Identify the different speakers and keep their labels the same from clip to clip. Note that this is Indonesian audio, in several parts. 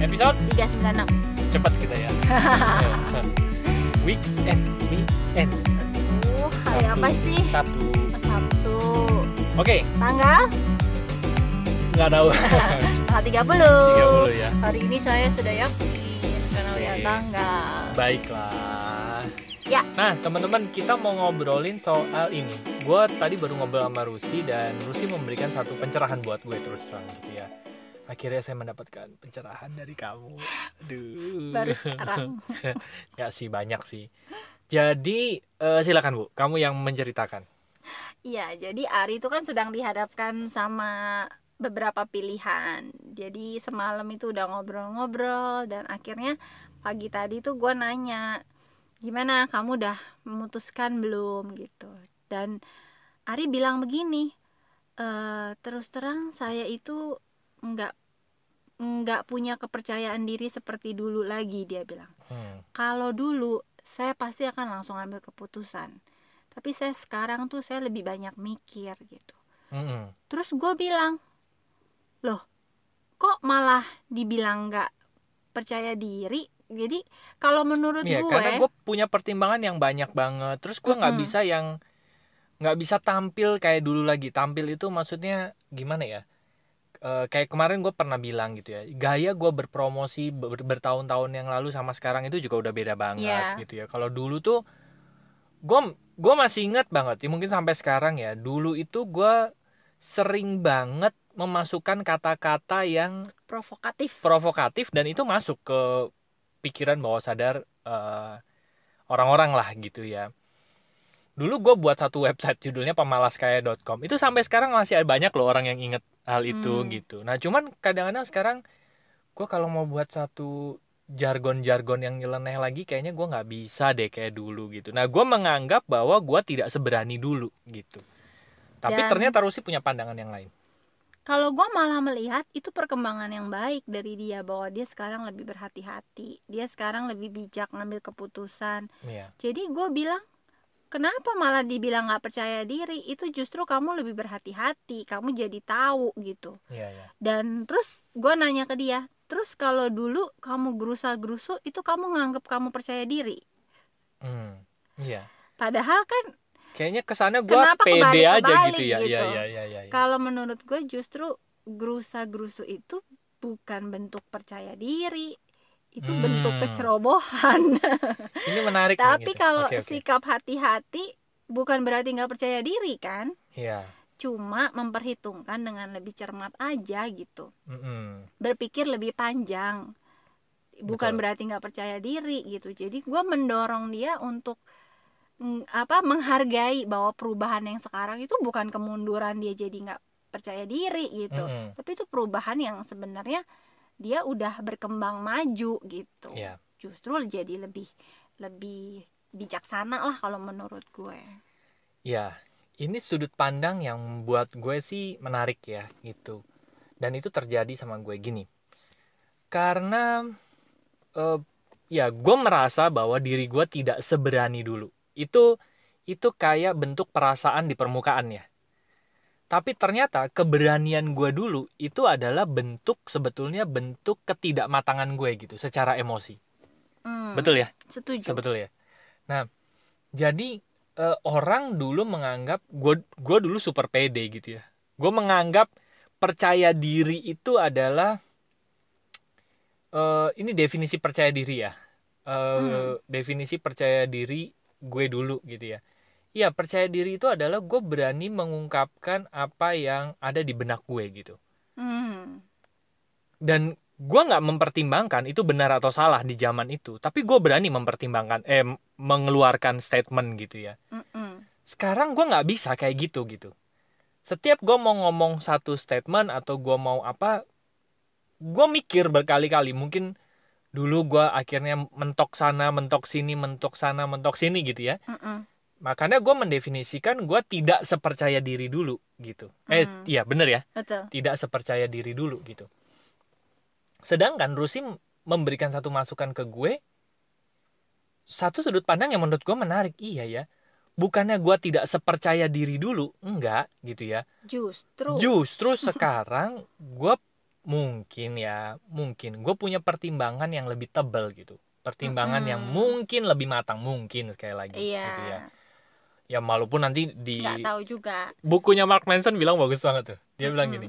Speaker 1: episode
Speaker 2: 396
Speaker 1: cepat kita ya. weekend, weekend.
Speaker 2: Aduh, Uh, hari apa sih?
Speaker 1: Sabtu.
Speaker 2: Sabtu
Speaker 1: Oke,
Speaker 2: Tanggal?
Speaker 1: nggak tahu.
Speaker 2: Tanggal 30
Speaker 1: 30 ya.
Speaker 2: Hari ini saya sudah ya, yakin Karena
Speaker 1: Oke.
Speaker 2: udah tanggal
Speaker 1: Baiklah.
Speaker 2: Ya.
Speaker 1: Nah, teman-teman, kita mau ngobrolin soal ini. Gue tadi baru ngobrol sama Rusi dan Rusi memberikan satu pencerahan buat gue terus terang gitu ya. Akhirnya saya mendapatkan pencerahan dari kamu. Aduh.
Speaker 2: Baru sekarang
Speaker 1: Nggak sih banyak sih. Jadi eh, silakan Bu, kamu yang menceritakan.
Speaker 2: Iya, jadi Ari itu kan sedang dihadapkan sama beberapa pilihan. Jadi semalam itu udah ngobrol-ngobrol dan akhirnya pagi tadi tuh gue nanya, gimana kamu udah memutuskan belum gitu. Dan Ari bilang begini, "Eh, terus terang saya itu nggak nggak punya kepercayaan diri seperti dulu lagi dia bilang
Speaker 1: Hmm.
Speaker 2: kalau dulu saya pasti akan langsung ambil keputusan tapi saya sekarang tuh saya lebih banyak mikir gitu
Speaker 1: Mm-mm.
Speaker 2: terus gue bilang loh kok malah dibilang nggak percaya diri jadi kalau menurut
Speaker 1: Iya,
Speaker 2: gue
Speaker 1: karena gue punya pertimbangan yang banyak banget. Terus gue nggak
Speaker 2: Mm-mm.
Speaker 1: bisa yang nggak bisa tampil kayak dulu lagi. Tampil itu maksudnya gimana ya? Eh, kayak kemarin gue pernah bilang gitu ya. Gaya gue berpromosi ber- bertahun-tahun yang lalu sama sekarang itu juga udah beda banget
Speaker 2: Iya.
Speaker 1: gitu ya. Kalau dulu tuh gue gue masih ingat banget. Ya, mungkin sampai sekarang ya. Dulu itu gue sering banget memasukkan kata-kata yang
Speaker 2: provokatif
Speaker 1: provokatif dan itu masuk ke pikiran bawah sadar eh, orang-orang lah gitu ya. Dulu gue buat satu website judulnya pemalaskaya.com itu sampai sekarang masih ada banyak loh orang yang inget hal itu
Speaker 2: Hmm.
Speaker 1: gitu. Nah cuman kadang-kadang sekarang gue kalau mau buat satu jargon-jargon yang nyeleneh lagi kayaknya gue nggak bisa deh kayak dulu gitu. Nah gue menganggap bahwa gue tidak seberani dulu gitu. Tapi
Speaker 2: Dan-
Speaker 1: ternyata Rusi punya pandangan yang lain.
Speaker 2: kalau gue malah melihat itu perkembangan yang baik dari dia bahwa dia sekarang lebih berhati-hati dia sekarang lebih bijak ngambil keputusan
Speaker 1: Iya.
Speaker 2: Jadi gue bilang, kenapa malah dibilang nggak percaya diri? Itu justru kamu lebih berhati-hati, kamu jadi tahu gitu.
Speaker 1: Iya, iya.
Speaker 2: Dan terus gue nanya ke dia, terus kalau dulu kamu gerusa-gerusu itu kamu nganggep kamu percaya diri.
Speaker 1: Hmm. Iya.
Speaker 2: Padahal kan
Speaker 1: Kayaknya kesannya gue
Speaker 2: Kenapa
Speaker 1: pede
Speaker 2: kebalik-kebalik
Speaker 1: aja gitu ya. Iya,
Speaker 2: gitu?
Speaker 1: iya, iya, iya. iya.
Speaker 2: kalau menurut gue justru gerusa-gerusu itu bukan bentuk percaya diri, itu
Speaker 1: Hmm.
Speaker 2: bentuk kecerobohan.
Speaker 1: Ini menarik. nih
Speaker 2: Tapi
Speaker 1: gitu.
Speaker 2: kalau
Speaker 1: Oke, oke.
Speaker 2: sikap hati-hati bukan berarti nggak percaya diri kan?
Speaker 1: Iya.
Speaker 2: cuma memperhitungkan dengan lebih cermat aja gitu
Speaker 1: Mm-mm.
Speaker 2: berpikir lebih panjang bukan
Speaker 1: Betul.
Speaker 2: berarti nggak percaya diri gitu jadi gue mendorong dia untuk mm, apa menghargai bahwa perubahan yang sekarang itu bukan kemunduran dia jadi nggak percaya diri gitu
Speaker 1: Mm-mm.
Speaker 2: tapi itu perubahan yang sebenarnya dia udah berkembang maju gitu
Speaker 1: Iya.
Speaker 2: justru jadi lebih lebih bijaksana lah kalau menurut gue
Speaker 1: Iya. Ini sudut pandang yang buat gue sih menarik ya gitu. Dan itu terjadi sama gue gini. Karena eh, ya gue merasa bahwa diri gue tidak seberani dulu. Itu itu kayak bentuk perasaan di permukaan ya. Tapi ternyata keberanian gue dulu itu adalah bentuk sebetulnya bentuk ketidakmatangan gue gitu secara emosi.
Speaker 2: Hmm,
Speaker 1: Betul ya?
Speaker 2: setuju
Speaker 1: sebetulnya. Nah, jadi eh, orang dulu menganggap gue gue dulu super pede gitu ya. Gue menganggap percaya diri itu adalah eh, ini definisi percaya diri ya. Eh, Definisi percaya diri gue dulu gitu ya. Iya percaya diri itu adalah gue berani mengungkapkan apa yang ada di benak gue gitu.
Speaker 2: Hmm,
Speaker 1: Dan gue nggak mempertimbangkan itu benar atau salah di zaman itu. Tapi gue berani mempertimbangkan eh mengeluarkan statement gitu ya
Speaker 2: mm-mm.
Speaker 1: sekarang gue nggak bisa kayak gitu gitu setiap gue mau ngomong satu statement atau gue mau apa gue mikir berkali-kali mungkin dulu gue akhirnya mentok sana mentok sini mentok sana mentok sini gitu ya
Speaker 2: Mm-mm.
Speaker 1: makanya gue mendefinisikan gue tidak sepercaya diri dulu gitu eh
Speaker 2: Hmm.
Speaker 1: iya bener ya
Speaker 2: Betul.
Speaker 1: tidak sepercaya diri dulu gitu. Sedangkan Rusi memberikan satu masukan ke gue, satu sudut pandang yang menurut gue menarik. Iya ya, bukannya gue tidak sepercaya diri dulu, enggak gitu ya.
Speaker 2: Justru.
Speaker 1: Justru sekarang gue mungkin ya mungkin gue punya pertimbangan yang lebih tebal gitu pertimbangan
Speaker 2: Mm-mm.
Speaker 1: yang mungkin lebih matang mungkin sekali lagi
Speaker 2: iya
Speaker 1: gitu ya ya walaupun nanti di
Speaker 2: nggak tahu juga
Speaker 1: bukunya Mark Manson bilang bagus banget tuh dia bilang gini
Speaker 2: Mm-mm.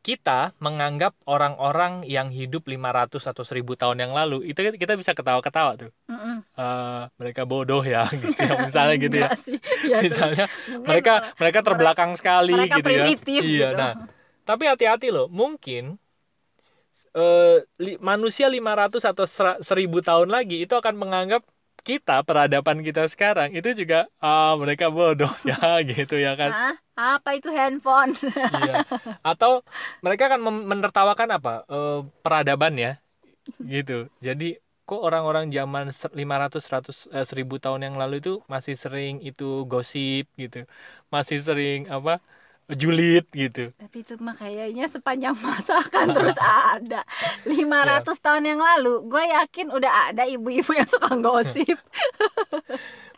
Speaker 1: kita menganggap orang-orang yang hidup 500 atau 1000 tahun yang lalu itu kita bisa ketawa-ketawa tuh
Speaker 2: Mm-mm.
Speaker 1: Eh, mereka bodoh ya gitu ya misalnya gitu ya
Speaker 2: Enggak sih. Ya, terus.
Speaker 1: misalnya
Speaker 2: Mungkin
Speaker 1: mereka mereka terbelakang sekali
Speaker 2: mereka
Speaker 1: gitu
Speaker 2: primitif
Speaker 1: ya iya
Speaker 2: gitu.
Speaker 1: nah tapi hati-hati loh mungkin eh, li- manusia 500 atau sera- 1000 tahun lagi itu akan menganggap kita peradaban kita sekarang itu juga ah mereka bodoh ya gitu ya kan
Speaker 2: Hah? apa itu handphone
Speaker 1: iya. atau mereka akan mem- menertawakan apa Eh, peradaban ya gitu jadi kok orang-orang zaman se- 500 100 eh, 1000 tahun yang lalu itu masih sering itu gosip gitu masih sering apa julid gitu
Speaker 2: tapi itu mah kayaknya sepanjang masa akan terus ada 500
Speaker 1: Iya.
Speaker 2: tahun yang lalu gue yakin udah ada ibu-ibu yang suka gosip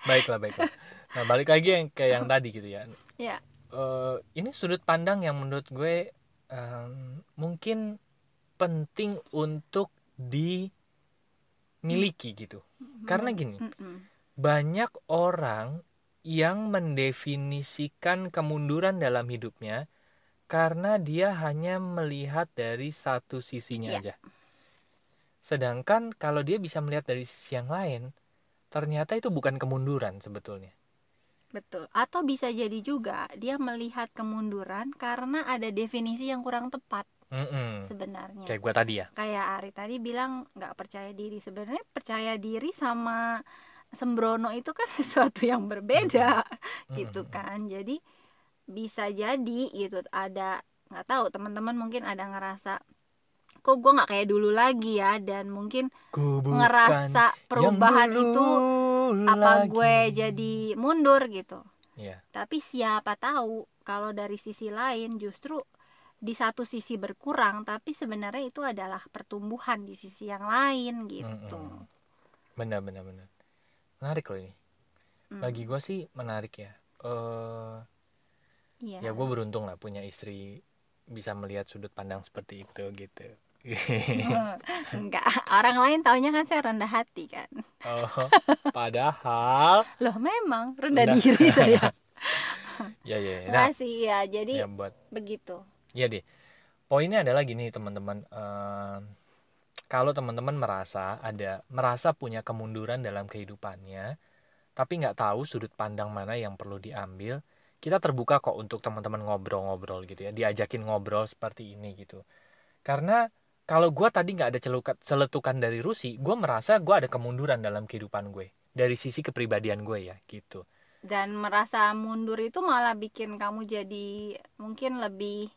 Speaker 1: baiklah baiklah nah balik lagi yang ke yang tadi gitu ya
Speaker 2: ya
Speaker 1: Eh, ini sudut pandang yang menurut gue em, mungkin penting untuk dimiliki gitu karena gini
Speaker 2: Mm-mm.
Speaker 1: banyak orang yang mendefinisikan kemunduran dalam hidupnya karena dia hanya melihat dari satu sisinya
Speaker 2: Iya.
Speaker 1: aja. Sedangkan kalau dia bisa melihat dari sisi yang lain, ternyata itu bukan kemunduran sebetulnya.
Speaker 2: betul atau bisa jadi juga dia melihat kemunduran karena ada definisi yang kurang tepat
Speaker 1: Mm-mm.
Speaker 2: sebenarnya
Speaker 1: Hmm. Kayak gue tadi ya.
Speaker 2: kayak Ari tadi bilang nggak percaya diri sebenarnya percaya diri sama sembrono itu kan sesuatu yang berbeda
Speaker 1: Mm-mm.
Speaker 2: gitu kan jadi bisa jadi gitu ada nggak tahu teman-teman mungkin ada ngerasa kok gue nggak kayak dulu lagi ya dan mungkin
Speaker 1: Ku bukan yang
Speaker 2: ngerasa perubahan
Speaker 1: dulu
Speaker 2: itu
Speaker 1: lagi.
Speaker 2: apa gue jadi mundur gitu
Speaker 1: Iya.
Speaker 2: tapi siapa tahu kalau dari sisi lain justru di satu sisi berkurang tapi sebenarnya itu adalah pertumbuhan di sisi yang lain gitu.
Speaker 1: Mm-mm. Benar benar benar. Menarik loh ini.
Speaker 2: Mm,
Speaker 1: Bagi gue sih menarik ya. Eh
Speaker 2: iya.
Speaker 1: ya gue beruntung lah punya istri bisa melihat sudut pandang seperti itu gitu
Speaker 2: Enggak, orang lain taunya kan saya rendah hati kan.
Speaker 1: oh, padahal
Speaker 2: Loh memang rendah
Speaker 1: Rendah.
Speaker 2: diri saya.
Speaker 1: ya ya ya. nah
Speaker 2: Enggak sih ya. Jadi
Speaker 1: ya buat
Speaker 2: begitu.
Speaker 1: ya deh poinnya adalah gini teman-teman Em, kalau teman-teman merasa ada merasa punya kemunduran dalam kehidupannya tapi nggak tahu sudut pandang mana yang perlu diambil kita terbuka kok untuk teman-teman ngobrol-ngobrol gitu ya diajakin ngobrol seperti ini gitu karena kalau gue tadi nggak ada celukat celetukan dari Rusi gue merasa gue ada kemunduran dalam kehidupan gue dari sisi kepribadian gue ya gitu
Speaker 2: Dan merasa mundur itu malah bikin kamu jadi mungkin lebih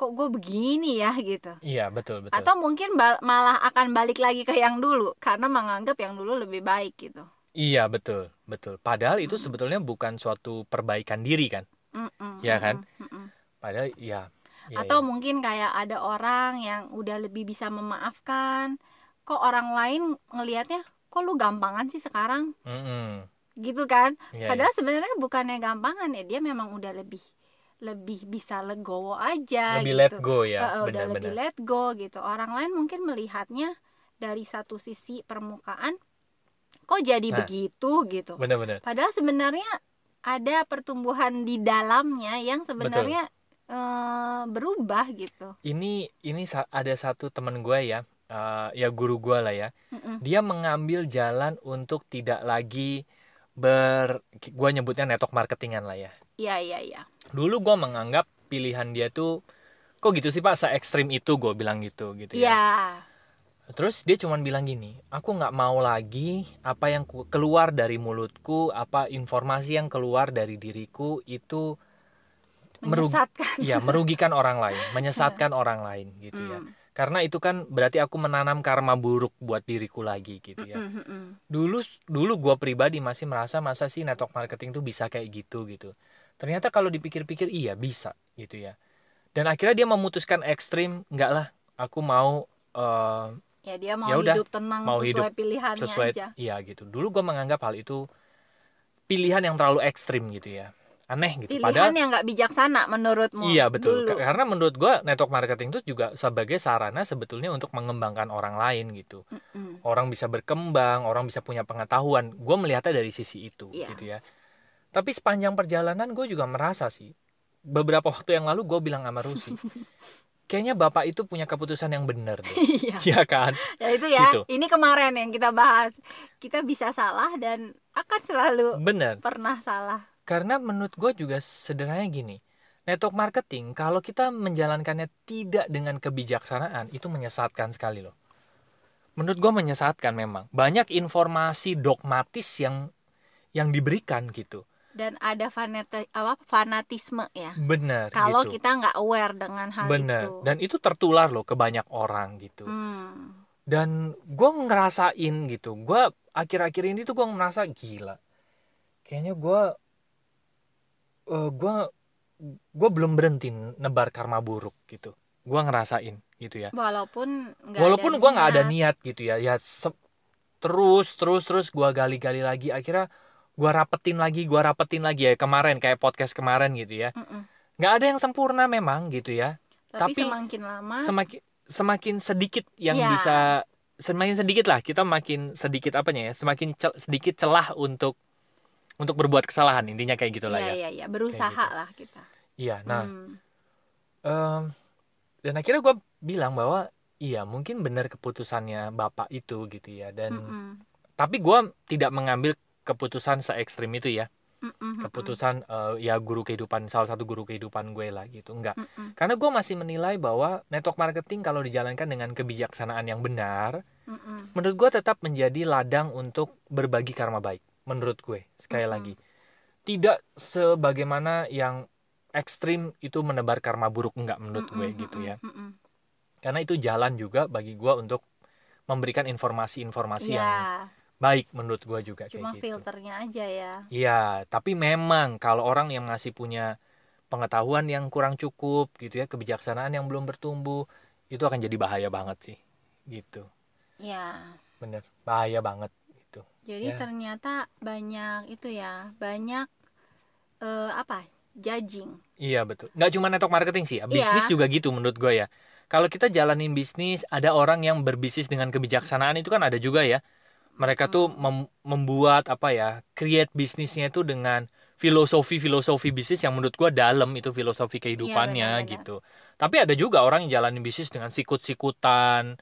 Speaker 2: kok gue begini ya gitu.
Speaker 1: iya betul betul
Speaker 2: Atau mungkin bal- malah akan balik lagi ke yang dulu karena menganggap yang dulu lebih baik gitu.
Speaker 1: iya betul betul padahal itu
Speaker 2: Mm.
Speaker 1: sebetulnya bukan suatu perbaikan diri kan
Speaker 2: Mm-mm,
Speaker 1: Iya
Speaker 2: mm-mm,
Speaker 1: kan?
Speaker 2: mm-mm.
Speaker 1: padahal ya, ya, ya.
Speaker 2: Atau mungkin kayak ada orang yang udah lebih bisa memaafkan. Kok orang lain ngelihatnya kok lu gampangan sih sekarang
Speaker 1: Mm-mm.
Speaker 2: gitu kan?
Speaker 1: Iya, iya.
Speaker 2: Padahal sebenarnya bukannya gampangan ya, dia memang udah lebih lebih bisa legowo aja
Speaker 1: lebih let
Speaker 2: gitu.
Speaker 1: go ya
Speaker 2: Eh, eh, udah lebih
Speaker 1: benar-benar
Speaker 2: let go gitu. Orang lain mungkin melihatnya dari satu sisi permukaan kok jadi
Speaker 1: Nah.
Speaker 2: begitu gitu.
Speaker 1: benar-benar
Speaker 2: Padahal sebenarnya ada pertumbuhan di dalamnya yang sebenarnya eh, berubah gitu.
Speaker 1: ini ini sa- ada satu teman gue ya eh, ya guru gue lah ya
Speaker 2: Mm-mm.
Speaker 1: dia mengambil jalan untuk tidak lagi ber gue nyebutnya network marketingan lah ya
Speaker 2: Iya iya iya.
Speaker 1: dulu gue menganggap pilihan dia tuh kok gitu sih pak se ekstrim itu gue bilang gitu gitu ya
Speaker 2: Iya.
Speaker 1: terus dia cuman bilang gini aku nggak mau lagi apa yang ku- keluar dari mulutku apa informasi yang keluar dari diriku itu merug-
Speaker 2: Menyesatkan.
Speaker 1: ya merugikan orang lain menyesatkan orang lain gitu ya
Speaker 2: Mm.
Speaker 1: karena itu kan berarti aku menanam karma buruk buat diriku lagi gitu ya
Speaker 2: Mm-mm, mm-mm.
Speaker 1: dulu dulu gue pribadi masih merasa masa sih network marketing tuh bisa kayak gitu gitu ternyata kalau dipikir-pikir iya bisa gitu ya dan akhirnya dia memutuskan ekstrim enggak lah aku mau eh,
Speaker 2: Ya dia mau
Speaker 1: Ya udah,
Speaker 2: hidup tenang
Speaker 1: mau
Speaker 2: sesuai pilihannya
Speaker 1: sesuai
Speaker 2: aja.
Speaker 1: iya gitu dulu gue menganggap hal itu pilihan yang terlalu ekstrim gitu ya aneh gitu
Speaker 2: Pilihan yang nggak bijaksana menurutmu.
Speaker 1: Iya betul.
Speaker 2: dulu.
Speaker 1: Ka- Karena menurut gua network marketing itu juga sebagai sarana sebetulnya untuk mengembangkan orang lain gitu.
Speaker 2: Mm-mm.
Speaker 1: Orang bisa berkembang, orang bisa punya pengetahuan. Gua melihatnya dari sisi itu
Speaker 2: Iya.
Speaker 1: gitu ya. Tapi sepanjang perjalanan gue juga merasa sih. Beberapa waktu yang lalu gue bilang sama Rusi, kayaknya bapak itu punya keputusan yang benar deh.
Speaker 2: Iya.
Speaker 1: Iya kan?
Speaker 2: Ya itu ya.
Speaker 1: Gitu.
Speaker 2: Ini kemarin yang kita bahas. Kita bisa salah dan akan selalu
Speaker 1: Benar.
Speaker 2: pernah salah.
Speaker 1: Karena menurut gue juga sederhananya gini. Network marketing kalau kita menjalankannya tidak dengan kebijaksanaan itu menyesatkan sekali loh. Menurut gue menyesatkan memang. Banyak informasi dogmatis yang yang diberikan gitu.
Speaker 2: Dan ada fanati apa fanatisme ya.
Speaker 1: Benar
Speaker 2: Kalau
Speaker 1: gitu.
Speaker 2: kita nggak aware dengan hal
Speaker 1: Benar.
Speaker 2: itu.
Speaker 1: Dan itu tertular loh ke banyak orang gitu.
Speaker 2: Hmm.
Speaker 1: dan gue ngerasain gitu gue akhir-akhir ini tuh gue merasa gila kayaknya gue gue gue belum berhenti nebar karma buruk gitu gue ngerasain gitu ya
Speaker 2: Walaupun nggak
Speaker 1: walaupun
Speaker 2: ada
Speaker 1: gue nggak ada
Speaker 2: niat.
Speaker 1: niat gitu ya ya se- terus terus terus gue gali-gali lagi akhirnya gue rapetin lagi gue rapetin lagi ya kemarin kayak podcast kemarin gitu ya
Speaker 2: Mm-mm.
Speaker 1: nggak ada yang sempurna memang gitu ya
Speaker 2: Tapi,
Speaker 1: Tapi-
Speaker 2: semakin lama
Speaker 1: semakin semakin sedikit yang
Speaker 2: Iya.
Speaker 1: bisa semakin sedikit lah kita makin sedikit apanya ya semakin cel- sedikit celah untuk untuk berbuat kesalahan intinya kayak gitulah
Speaker 2: Iya,
Speaker 1: ya
Speaker 2: iya, iya, berusaha
Speaker 1: Kayak
Speaker 2: lah kita.
Speaker 1: iya nah
Speaker 2: Hmm.
Speaker 1: em, dan akhirnya gue bilang bahwa iya mungkin benar keputusannya bapak itu gitu ya dan
Speaker 2: Mm-mm.
Speaker 1: tapi gue tidak mengambil keputusan se ekstrim itu
Speaker 2: Hmm,
Speaker 1: ya
Speaker 2: Mm-mm.
Speaker 1: keputusan eh, ya guru kehidupan salah satu guru kehidupan gue lah gitu enggak
Speaker 2: Mm-mm.
Speaker 1: karena gue masih menilai bahwa network marketing kalau dijalankan dengan kebijaksanaan yang benar
Speaker 2: Mm-mm.
Speaker 1: menurut gue tetap menjadi ladang untuk berbagi karma baik menurut gue sekali
Speaker 2: Mhm.
Speaker 1: lagi tidak sebagaimana yang ekstrim itu menebar karma buruk enggak menurut gue
Speaker 2: Mm-mm.
Speaker 1: gitu ya
Speaker 2: Mm-mm.
Speaker 1: karena itu jalan juga bagi gue untuk memberikan informasi-informasi
Speaker 2: Iya,
Speaker 1: yang baik menurut gue juga ya.
Speaker 2: cuma
Speaker 1: kayak gitu
Speaker 2: filternya aja ya.
Speaker 1: Iya, tapi memang kalau orang yang masih punya pengetahuan yang kurang cukup gitu ya, kebijaksanaan yang belum bertumbuh, itu akan jadi bahaya banget sih. Gitu.
Speaker 2: Ya.
Speaker 1: Bener, bahaya banget gitu.
Speaker 2: Jadi
Speaker 1: Ya.
Speaker 2: ternyata banyak itu ya, banyak eh, apa? judging.
Speaker 1: Iya, betul. Nggak cuma network marketing sih, ya, bisnis
Speaker 2: Iya.
Speaker 1: juga gitu menurut gue ya. Kalau kita jalanin bisnis, ada orang yang berbisnis dengan kebijaksanaan itu kan ada juga ya. Mereka tuh
Speaker 2: Hmm.
Speaker 1: mem- membuat apa ya, create bisnisnya itu dengan filosofi-filosofi bisnis yang menurut gue dalam itu filosofi
Speaker 2: Iya,
Speaker 1: kehidupannya
Speaker 2: benar-benar.
Speaker 1: gitu. Tapi ada juga orang yang jalanin bisnis dengan sikut-sikutan,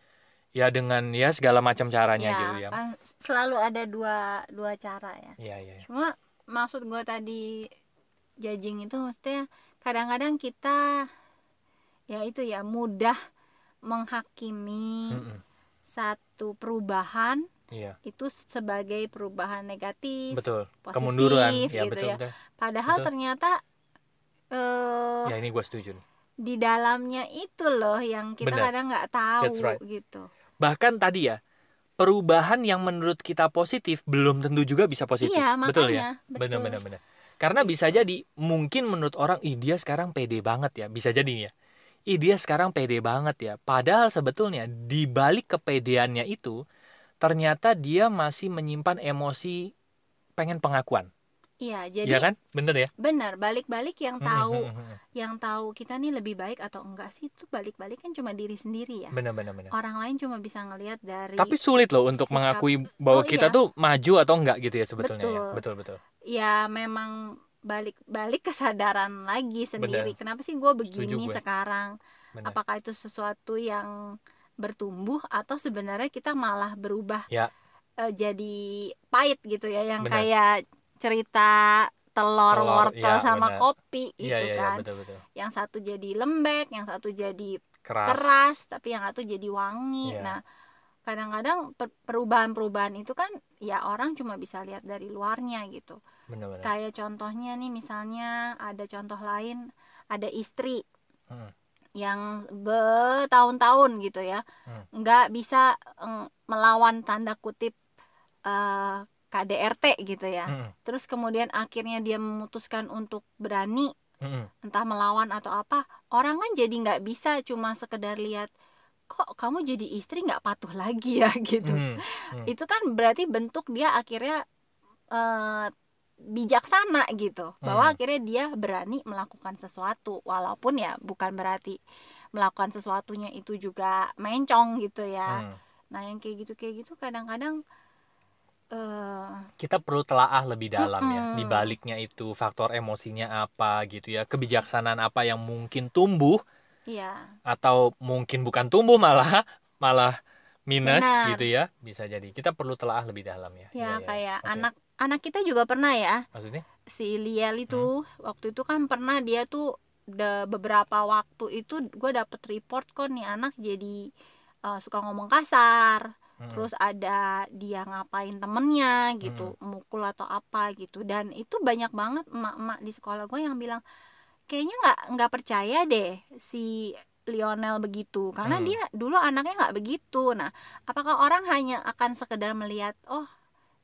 Speaker 1: ya dengan ya segala macam caranya
Speaker 2: Ya,
Speaker 1: gitu ya.
Speaker 2: kan selalu ada dua dua cara ya.
Speaker 1: Iya, iya. iya.
Speaker 2: Cuma maksud gue tadi judging itu maksudnya kadang-kadang kita ya itu ya mudah menghakimi
Speaker 1: Mm-mm.
Speaker 2: satu perubahan
Speaker 1: Iya,
Speaker 2: itu sebagai perubahan negatif,
Speaker 1: betul.
Speaker 2: positif
Speaker 1: Kemunduran, ya
Speaker 2: gitu
Speaker 1: betul.
Speaker 2: ya.
Speaker 1: betul.
Speaker 2: Padahal
Speaker 1: Betul.
Speaker 2: ternyata eh
Speaker 1: Ya ini gue setuju. nih.
Speaker 2: di dalamnya itu loh yang kita
Speaker 1: Benar.
Speaker 2: kadang nggak tahu
Speaker 1: That's right.
Speaker 2: gitu.
Speaker 1: Bahkan tadi ya, perubahan yang menurut kita positif belum tentu juga bisa positif.
Speaker 2: Iya, makanya
Speaker 1: betul ya?
Speaker 2: betul. Gitu.
Speaker 1: Benar benar benar. Karena bisa jadi mungkin menurut orang ih dia sekarang pede banget ya, bisa jadi ya. Ih dia sekarang pede banget ya. Padahal sebetulnya di balik kepedeannya itu ternyata dia masih menyimpan emosi pengen pengakuan.
Speaker 2: Iya, jadi
Speaker 1: Iya kan? Bener ya?
Speaker 2: benar balik-balik yang tahu Ya.
Speaker 1: Mhm, mhm,
Speaker 2: yang tahu kita nih lebih baik atau enggak sih itu balik-balik kan cuma diri sendiri ya.
Speaker 1: mhm. Bener bener bener.
Speaker 2: Orang lain cuma bisa ngelihat dari
Speaker 1: Tapi sulit loh untuk
Speaker 2: sikap-
Speaker 1: mengakui bahwa
Speaker 2: Oh,
Speaker 1: kita
Speaker 2: iya.
Speaker 1: tuh maju atau enggak gitu ya sebetulnya ya.
Speaker 2: Betul.
Speaker 1: Betul betul.
Speaker 2: ya memang balik-balik kesadaran lagi sendiri. Kenapa sih gue begini
Speaker 1: gue.
Speaker 2: sekarang?
Speaker 1: Benar.
Speaker 2: Apakah itu sesuatu yang bertumbuh atau sebenarnya kita malah berubah
Speaker 1: Ya.
Speaker 2: eh, jadi pahit gitu ya yang
Speaker 1: Benar.
Speaker 2: kayak cerita telur,
Speaker 1: Telur,
Speaker 2: wortel
Speaker 1: ya,
Speaker 2: sama
Speaker 1: benar.
Speaker 2: kopi
Speaker 1: Iya
Speaker 2: gitu
Speaker 1: iya iya
Speaker 2: kan.
Speaker 1: betul betul.
Speaker 2: yang satu jadi lembek, yang satu jadi
Speaker 1: Keras.
Speaker 2: keras, tapi yang satu jadi wangi.
Speaker 1: Iya.
Speaker 2: Nah, kadang-kadang per- perubahan-perubahan itu kan ya orang cuma bisa lihat dari luarnya gitu.
Speaker 1: Benar-benar.
Speaker 2: Kayak contohnya nih misalnya ada contoh lain, ada istri
Speaker 1: Hmm.
Speaker 2: yang bertahun-tahun gitu ya,
Speaker 1: Hmm.
Speaker 2: nggak bisa eh, melawan tanda kutip eh, KDRT gitu ya.
Speaker 1: Mm-mm.
Speaker 2: Terus kemudian akhirnya dia memutuskan untuk berani
Speaker 1: Mm-mm.
Speaker 2: entah melawan atau apa, orang kan jadi nggak bisa cuma sekedar lihat kok kamu jadi istri nggak patuh lagi ya gitu.
Speaker 1: Mm. Mm.
Speaker 2: Itu kan berarti bentuk dia akhirnya eh, bijaksana gitu bahwa
Speaker 1: Hmm.
Speaker 2: akhirnya dia berani melakukan sesuatu walaupun ya bukan berarti melakukan sesuatunya itu juga mencong gitu ya
Speaker 1: Hmm.
Speaker 2: nah yang kayak gitu kayak gitu kadang-kadang eh
Speaker 1: Kita perlu telaah lebih dalam ya
Speaker 2: Mm-mm.
Speaker 1: di baliknya itu faktor emosinya apa gitu ya, kebijaksanaan apa yang mungkin tumbuh
Speaker 2: iya
Speaker 1: atau mungkin bukan tumbuh malah malah minus
Speaker 2: Benar.
Speaker 1: gitu ya. Bisa jadi kita perlu telaah lebih dalam ya. Iya,
Speaker 2: ya
Speaker 1: iya.
Speaker 2: kayak
Speaker 1: Oke.
Speaker 2: anak anak kita juga pernah ya
Speaker 1: maksudnya
Speaker 2: si Liel itu waktu itu kan pernah dia tuh de beberapa waktu itu gue dapet report kok nih anak jadi eh, suka ngomong kasar
Speaker 1: Mm-mm.
Speaker 2: terus ada dia ngapain temennya gitu
Speaker 1: Hmm.
Speaker 2: mukul atau apa gitu dan itu banyak banget emak-emak di sekolah gue yang bilang kayaknya nggak nggak percaya deh si Lionel begitu karena
Speaker 1: Hmm.
Speaker 2: dia dulu anaknya nggak begitu nah apakah orang hanya akan sekedar melihat oh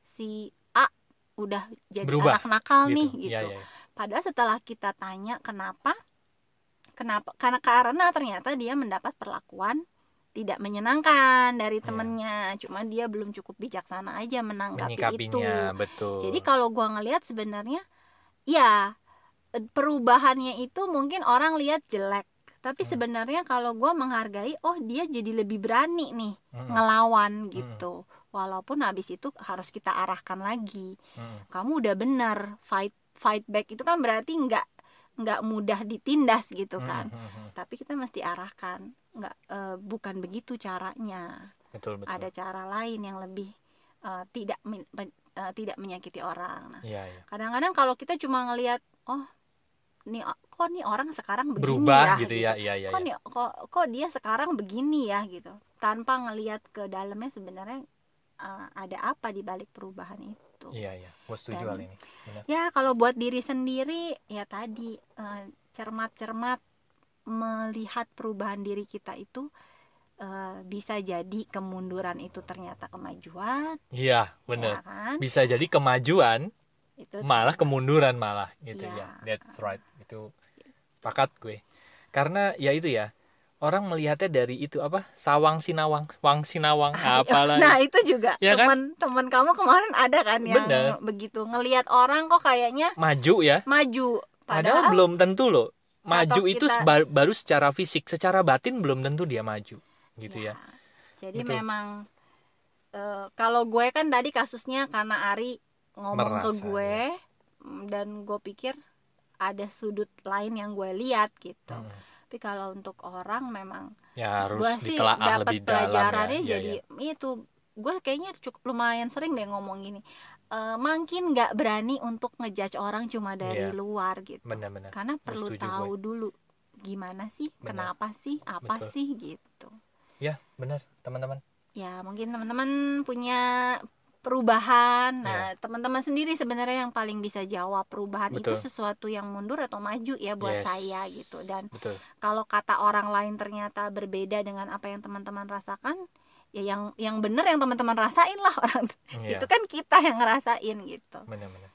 Speaker 2: si A udah jadi
Speaker 1: Berubah,
Speaker 2: anak nakal
Speaker 1: gitu.
Speaker 2: nih
Speaker 1: Iya,
Speaker 2: gitu
Speaker 1: iya, iya.
Speaker 2: Padahal setelah kita tanya kenapa, kenapa karena karena ternyata dia mendapat perlakuan tidak menyenangkan dari
Speaker 1: Iya.
Speaker 2: temennya, cuma dia belum cukup bijaksana aja menanggapi itu.
Speaker 1: Menyikapinya betul.
Speaker 2: Jadi kalau gua ngelihat sebenarnya, ya eh, perubahannya itu mungkin orang lihat jelek, tapi
Speaker 1: Hmm.
Speaker 2: sebenarnya kalau gua menghargai, oh dia jadi lebih berani nih
Speaker 1: Mm-mm. Hmm.
Speaker 2: ngelawan gitu, walaupun habis itu harus kita arahkan lagi
Speaker 1: Mm-mm.
Speaker 2: kamu udah benar fight fight back itu kan berarti nggak nggak mudah ditindas gitu
Speaker 1: Hmm,
Speaker 2: kan
Speaker 1: Mm-mm.
Speaker 2: tapi kita mesti arahkan nggak eh, bukan begitu caranya
Speaker 1: Betul betul.
Speaker 2: ada cara lain yang lebih eh, tidak men- men- eh, tidak menyakiti orang nah
Speaker 1: Iya, iya.
Speaker 2: kadang-kadang kalau kita cuma ngelihat oh nih o- kok nih orang sekarang begini
Speaker 1: Berubah
Speaker 2: ya
Speaker 1: gitu ya. Iya, iya,
Speaker 2: kok
Speaker 1: iya.
Speaker 2: nih kok, kok dia sekarang begini ya gitu tanpa ngelihat ke dalamnya sebenarnya eh, ada apa di balik perubahan itu
Speaker 1: Iya, iya. Gua setuju hal
Speaker 2: Dan-
Speaker 1: ini. Benar.
Speaker 2: ya kalau buat diri sendiri ya tadi eh, cermat-cermat melihat perubahan diri kita itu eh, bisa jadi kemunduran itu ternyata kemajuan
Speaker 1: Iya,
Speaker 2: ya
Speaker 1: benar.
Speaker 2: kan
Speaker 1: Bisa jadi kemajuan
Speaker 2: itu
Speaker 1: malah kemunduran malah gitu
Speaker 2: Iya.
Speaker 1: ya. That's right. Itu pakat gue. Karena ya itu ya. Orang melihatnya dari itu apa? Sawang sinawang, wang sinawang, apalah.
Speaker 2: nah itu juga
Speaker 1: Ya kan?
Speaker 2: teman-teman kamu kemarin ada kan yang
Speaker 1: Bener.
Speaker 2: begitu ngelihat orang kok kayaknya
Speaker 1: Maju ya.
Speaker 2: maju
Speaker 1: Padahal
Speaker 2: padahal,
Speaker 1: belum tentu loh. Maju
Speaker 2: Otak
Speaker 1: itu
Speaker 2: kita-
Speaker 1: seba- baru secara fisik, secara batin belum tentu dia maju, gitu
Speaker 2: Iya,
Speaker 1: ya.
Speaker 2: jadi
Speaker 1: Betul.
Speaker 2: memang eh, kalau gue kan tadi kasusnya karena Ari ngomong ke
Speaker 1: Merasa, ya.
Speaker 2: gue mm, dan gue pikir ada sudut lain yang gue lihat gitu
Speaker 1: Mm.
Speaker 2: tapi kalau untuk orang memang
Speaker 1: Ya harus
Speaker 2: gue sih
Speaker 1: ditelaah
Speaker 2: dapat
Speaker 1: lebih dalam ya.
Speaker 2: pelajarannya
Speaker 1: Iya,
Speaker 2: jadi
Speaker 1: iya.
Speaker 2: itu gue kayaknya cukup lumayan sering deh ngomong gini eh makin nggak berani untuk ngejudge orang cuma dari
Speaker 1: Iya.
Speaker 2: luar gitu
Speaker 1: benar-benar.
Speaker 2: karena perlu
Speaker 1: setuju gue.
Speaker 2: tahu dulu gimana sih
Speaker 1: Benar.
Speaker 2: kenapa sih apa
Speaker 1: Betul.
Speaker 2: sih gitu
Speaker 1: Ya benar, teman-teman.
Speaker 2: ya mungkin teman-teman punya
Speaker 1: Iya.
Speaker 2: perubahan. Nah, teman-teman sendiri sebenarnya yang paling bisa jawab perubahan
Speaker 1: Betul.
Speaker 2: itu sesuatu yang mundur atau maju ya buat
Speaker 1: Yes.
Speaker 2: saya gitu. Dan
Speaker 1: Betul.
Speaker 2: kalau kata orang lain ternyata berbeda dengan apa yang teman-teman rasakan, ya yang yang benar yang teman-teman rasain lah orang.
Speaker 1: Iya.
Speaker 2: Itu kan kita yang ngerasain gitu.
Speaker 1: Benar-benar.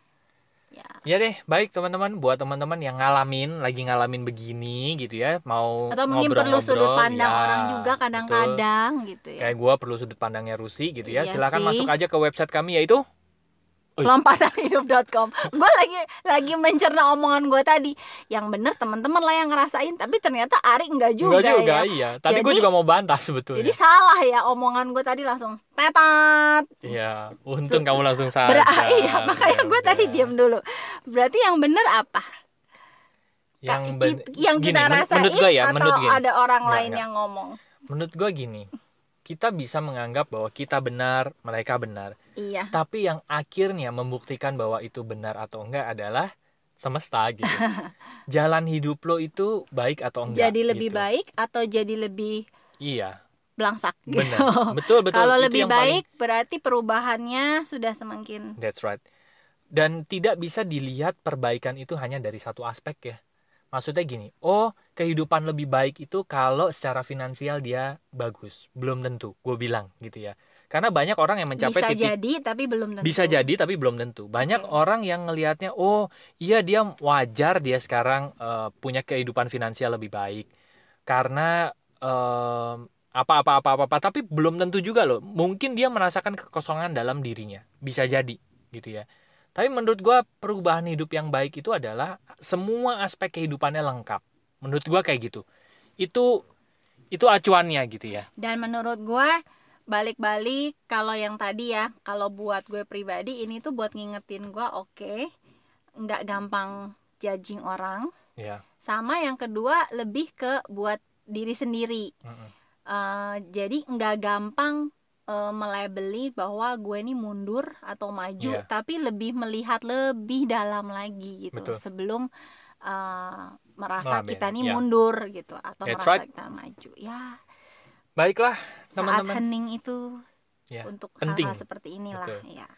Speaker 2: Ya.
Speaker 1: Ya deh, baik teman-teman. Buat teman-teman yang ngalamin, lagi ngalamin begini gitu ya, mau
Speaker 2: Atau mungkin perlu sudut
Speaker 1: ngobrol-ngobrol,
Speaker 2: pandang
Speaker 1: ya,
Speaker 2: orang juga
Speaker 1: betul.
Speaker 2: kadang-kadang gitu ya.
Speaker 1: Kayak gua perlu sudut pandangnya Rusi gitu ya.
Speaker 2: Iya
Speaker 1: Silakan
Speaker 2: sih.
Speaker 1: masuk aja ke website kami yaitu Oi.
Speaker 2: lompatanhidup.com gue lagi lagi mencerna omongan gue tadi yang bener teman-teman lah yang ngerasain tapi ternyata Ari enggak juga,
Speaker 1: Enggak juga
Speaker 2: ya
Speaker 1: iya. Tapi gue
Speaker 2: Jadi-
Speaker 1: juga mau bantah sebetulnya.
Speaker 2: jadi salah ya omongan gue tadi langsung tetat
Speaker 1: Iya, untung
Speaker 2: Su-
Speaker 1: kamu langsung sadar. Iya.
Speaker 2: berarti iya makanya gue tadi
Speaker 1: Udah.
Speaker 2: diam dulu berarti yang bener apa
Speaker 1: Yang,
Speaker 2: Ka-
Speaker 1: ben-
Speaker 2: ki- yang
Speaker 1: gini,
Speaker 2: kita
Speaker 1: men-
Speaker 2: rasain
Speaker 1: menurut gue ya,
Speaker 2: atau
Speaker 1: menurut gini.
Speaker 2: ada orang
Speaker 1: Enggak,
Speaker 2: lain
Speaker 1: enggak.
Speaker 2: yang ngomong
Speaker 1: Menurut gue gini. Kita bisa menganggap bahwa kita benar, mereka benar.
Speaker 2: iya
Speaker 1: Tapi yang akhirnya membuktikan bahwa itu benar atau enggak adalah semesta gitu. Jalan hidup lo itu baik atau enggak.
Speaker 2: jadi lebih
Speaker 1: gitu.
Speaker 2: baik atau jadi lebih
Speaker 1: Iya,
Speaker 2: belangsak gitu
Speaker 1: benar. Betul, betul.
Speaker 2: kalau
Speaker 1: Itu
Speaker 2: lebih
Speaker 1: yang paling-
Speaker 2: baik berarti perubahannya sudah semakin
Speaker 1: That's right. Dan tidak bisa dilihat perbaikan itu hanya dari satu aspek ya. Maksudnya gini, oh kehidupan lebih baik itu kalau secara finansial dia bagus. Belum tentu, gue bilang gitu ya. Karena banyak orang yang mencapai
Speaker 2: bisa
Speaker 1: titik
Speaker 2: jadi tapi belum tentu
Speaker 1: bisa jadi tapi belum tentu. Banyak
Speaker 2: Oke.
Speaker 1: orang yang ngelihatnya, oh iya dia wajar dia sekarang eh, punya kehidupan finansial lebih baik karena eh, em, apa-apa apa-apa tapi belum tentu juga loh. Mungkin dia merasakan kekosongan dalam dirinya. Bisa jadi gitu ya. Tapi menurut gua perubahan hidup yang baik itu adalah semua aspek kehidupannya lengkap. Menurut gua kayak gitu. Itu itu acuannya gitu ya.
Speaker 2: Dan menurut gue balik-balik kalau yang tadi ya kalau buat gue pribadi ini tuh buat ngingetin gue oke nggak gampang judging orang
Speaker 1: Ya.
Speaker 2: sama yang kedua lebih ke buat diri sendiri
Speaker 1: Mm-mm.
Speaker 2: Eh, jadi nggak gampang eh, melabeli bahwa gue ini mundur atau maju
Speaker 1: Iya.
Speaker 2: tapi lebih melihat lebih dalam lagi gitu
Speaker 1: Betul.
Speaker 2: sebelum eh, merasa
Speaker 1: Melabeli,
Speaker 2: kita nih
Speaker 1: ya.
Speaker 2: mundur gitu atau
Speaker 1: That's
Speaker 2: merasa
Speaker 1: right.
Speaker 2: kita maju ya
Speaker 1: Baiklah
Speaker 2: saat
Speaker 1: teman-teman.
Speaker 2: hening itu
Speaker 1: Ya,
Speaker 2: untuk
Speaker 1: penting.
Speaker 2: hal-hal seperti inilah ya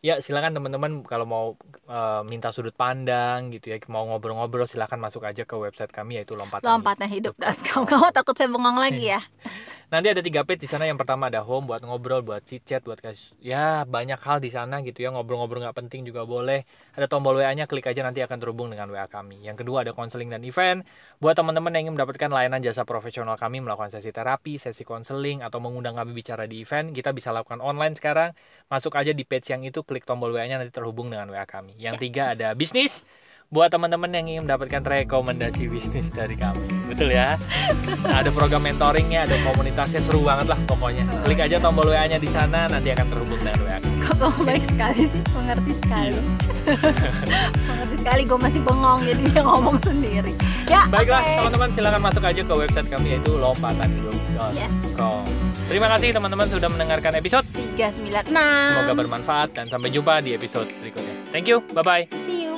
Speaker 1: Ya silakan teman-teman kalau mau eh, minta sudut pandang gitu ya, mau ngobrol-ngobrol silakan masuk aja ke website kami yaitu lompatan.
Speaker 2: lompatnya hidup dan
Speaker 1: Oh.
Speaker 2: kamu kamu takut saya bengong lagi
Speaker 1: Iya.
Speaker 2: ya
Speaker 1: Nanti ada tiga page di sana yang pertama ada home buat ngobrol, buat chit chat, buat kas ya banyak hal di sana gitu ya ngobrol-ngobrol nggak penting juga boleh. Ada tombol WA-nya klik aja nanti akan terhubung dengan WA kami. Yang kedua ada konseling dan event buat teman-teman yang ingin mendapatkan layanan jasa profesional kami melakukan sesi terapi, sesi konseling atau mengundang kami bicara di event, kita bisa lakukan online sekarang. Masuk aja di page yang itu klik tombol WA-nya nanti terhubung dengan WA kami. Yang tiga ada bisnis buat teman-teman yang ingin mendapatkan rekomendasi bisnis dari kami. Betul ya? Nah, ada program mentoringnya, ada komunitasnya seru banget lah pokoknya. Klik aja tombol WA-nya di sana, nanti akan terhubung dengan WA.
Speaker 2: ya? kok
Speaker 1: Iya.
Speaker 2: kamu baik sekali sih mengerti sekali mengerti sekali gue masih bengong jadi dia ngomong sendiri ya
Speaker 1: Baiklah,
Speaker 2: oke.
Speaker 1: teman-teman silakan masuk aja ke website kami yaitu lompatanhidup.com.
Speaker 2: Yes.
Speaker 1: Terima kasih teman-teman sudah mendengarkan episode.
Speaker 2: 396
Speaker 1: Semoga bermanfaat dan sampai jumpa di episode berikutnya. Thank you. Bye bye.
Speaker 2: See you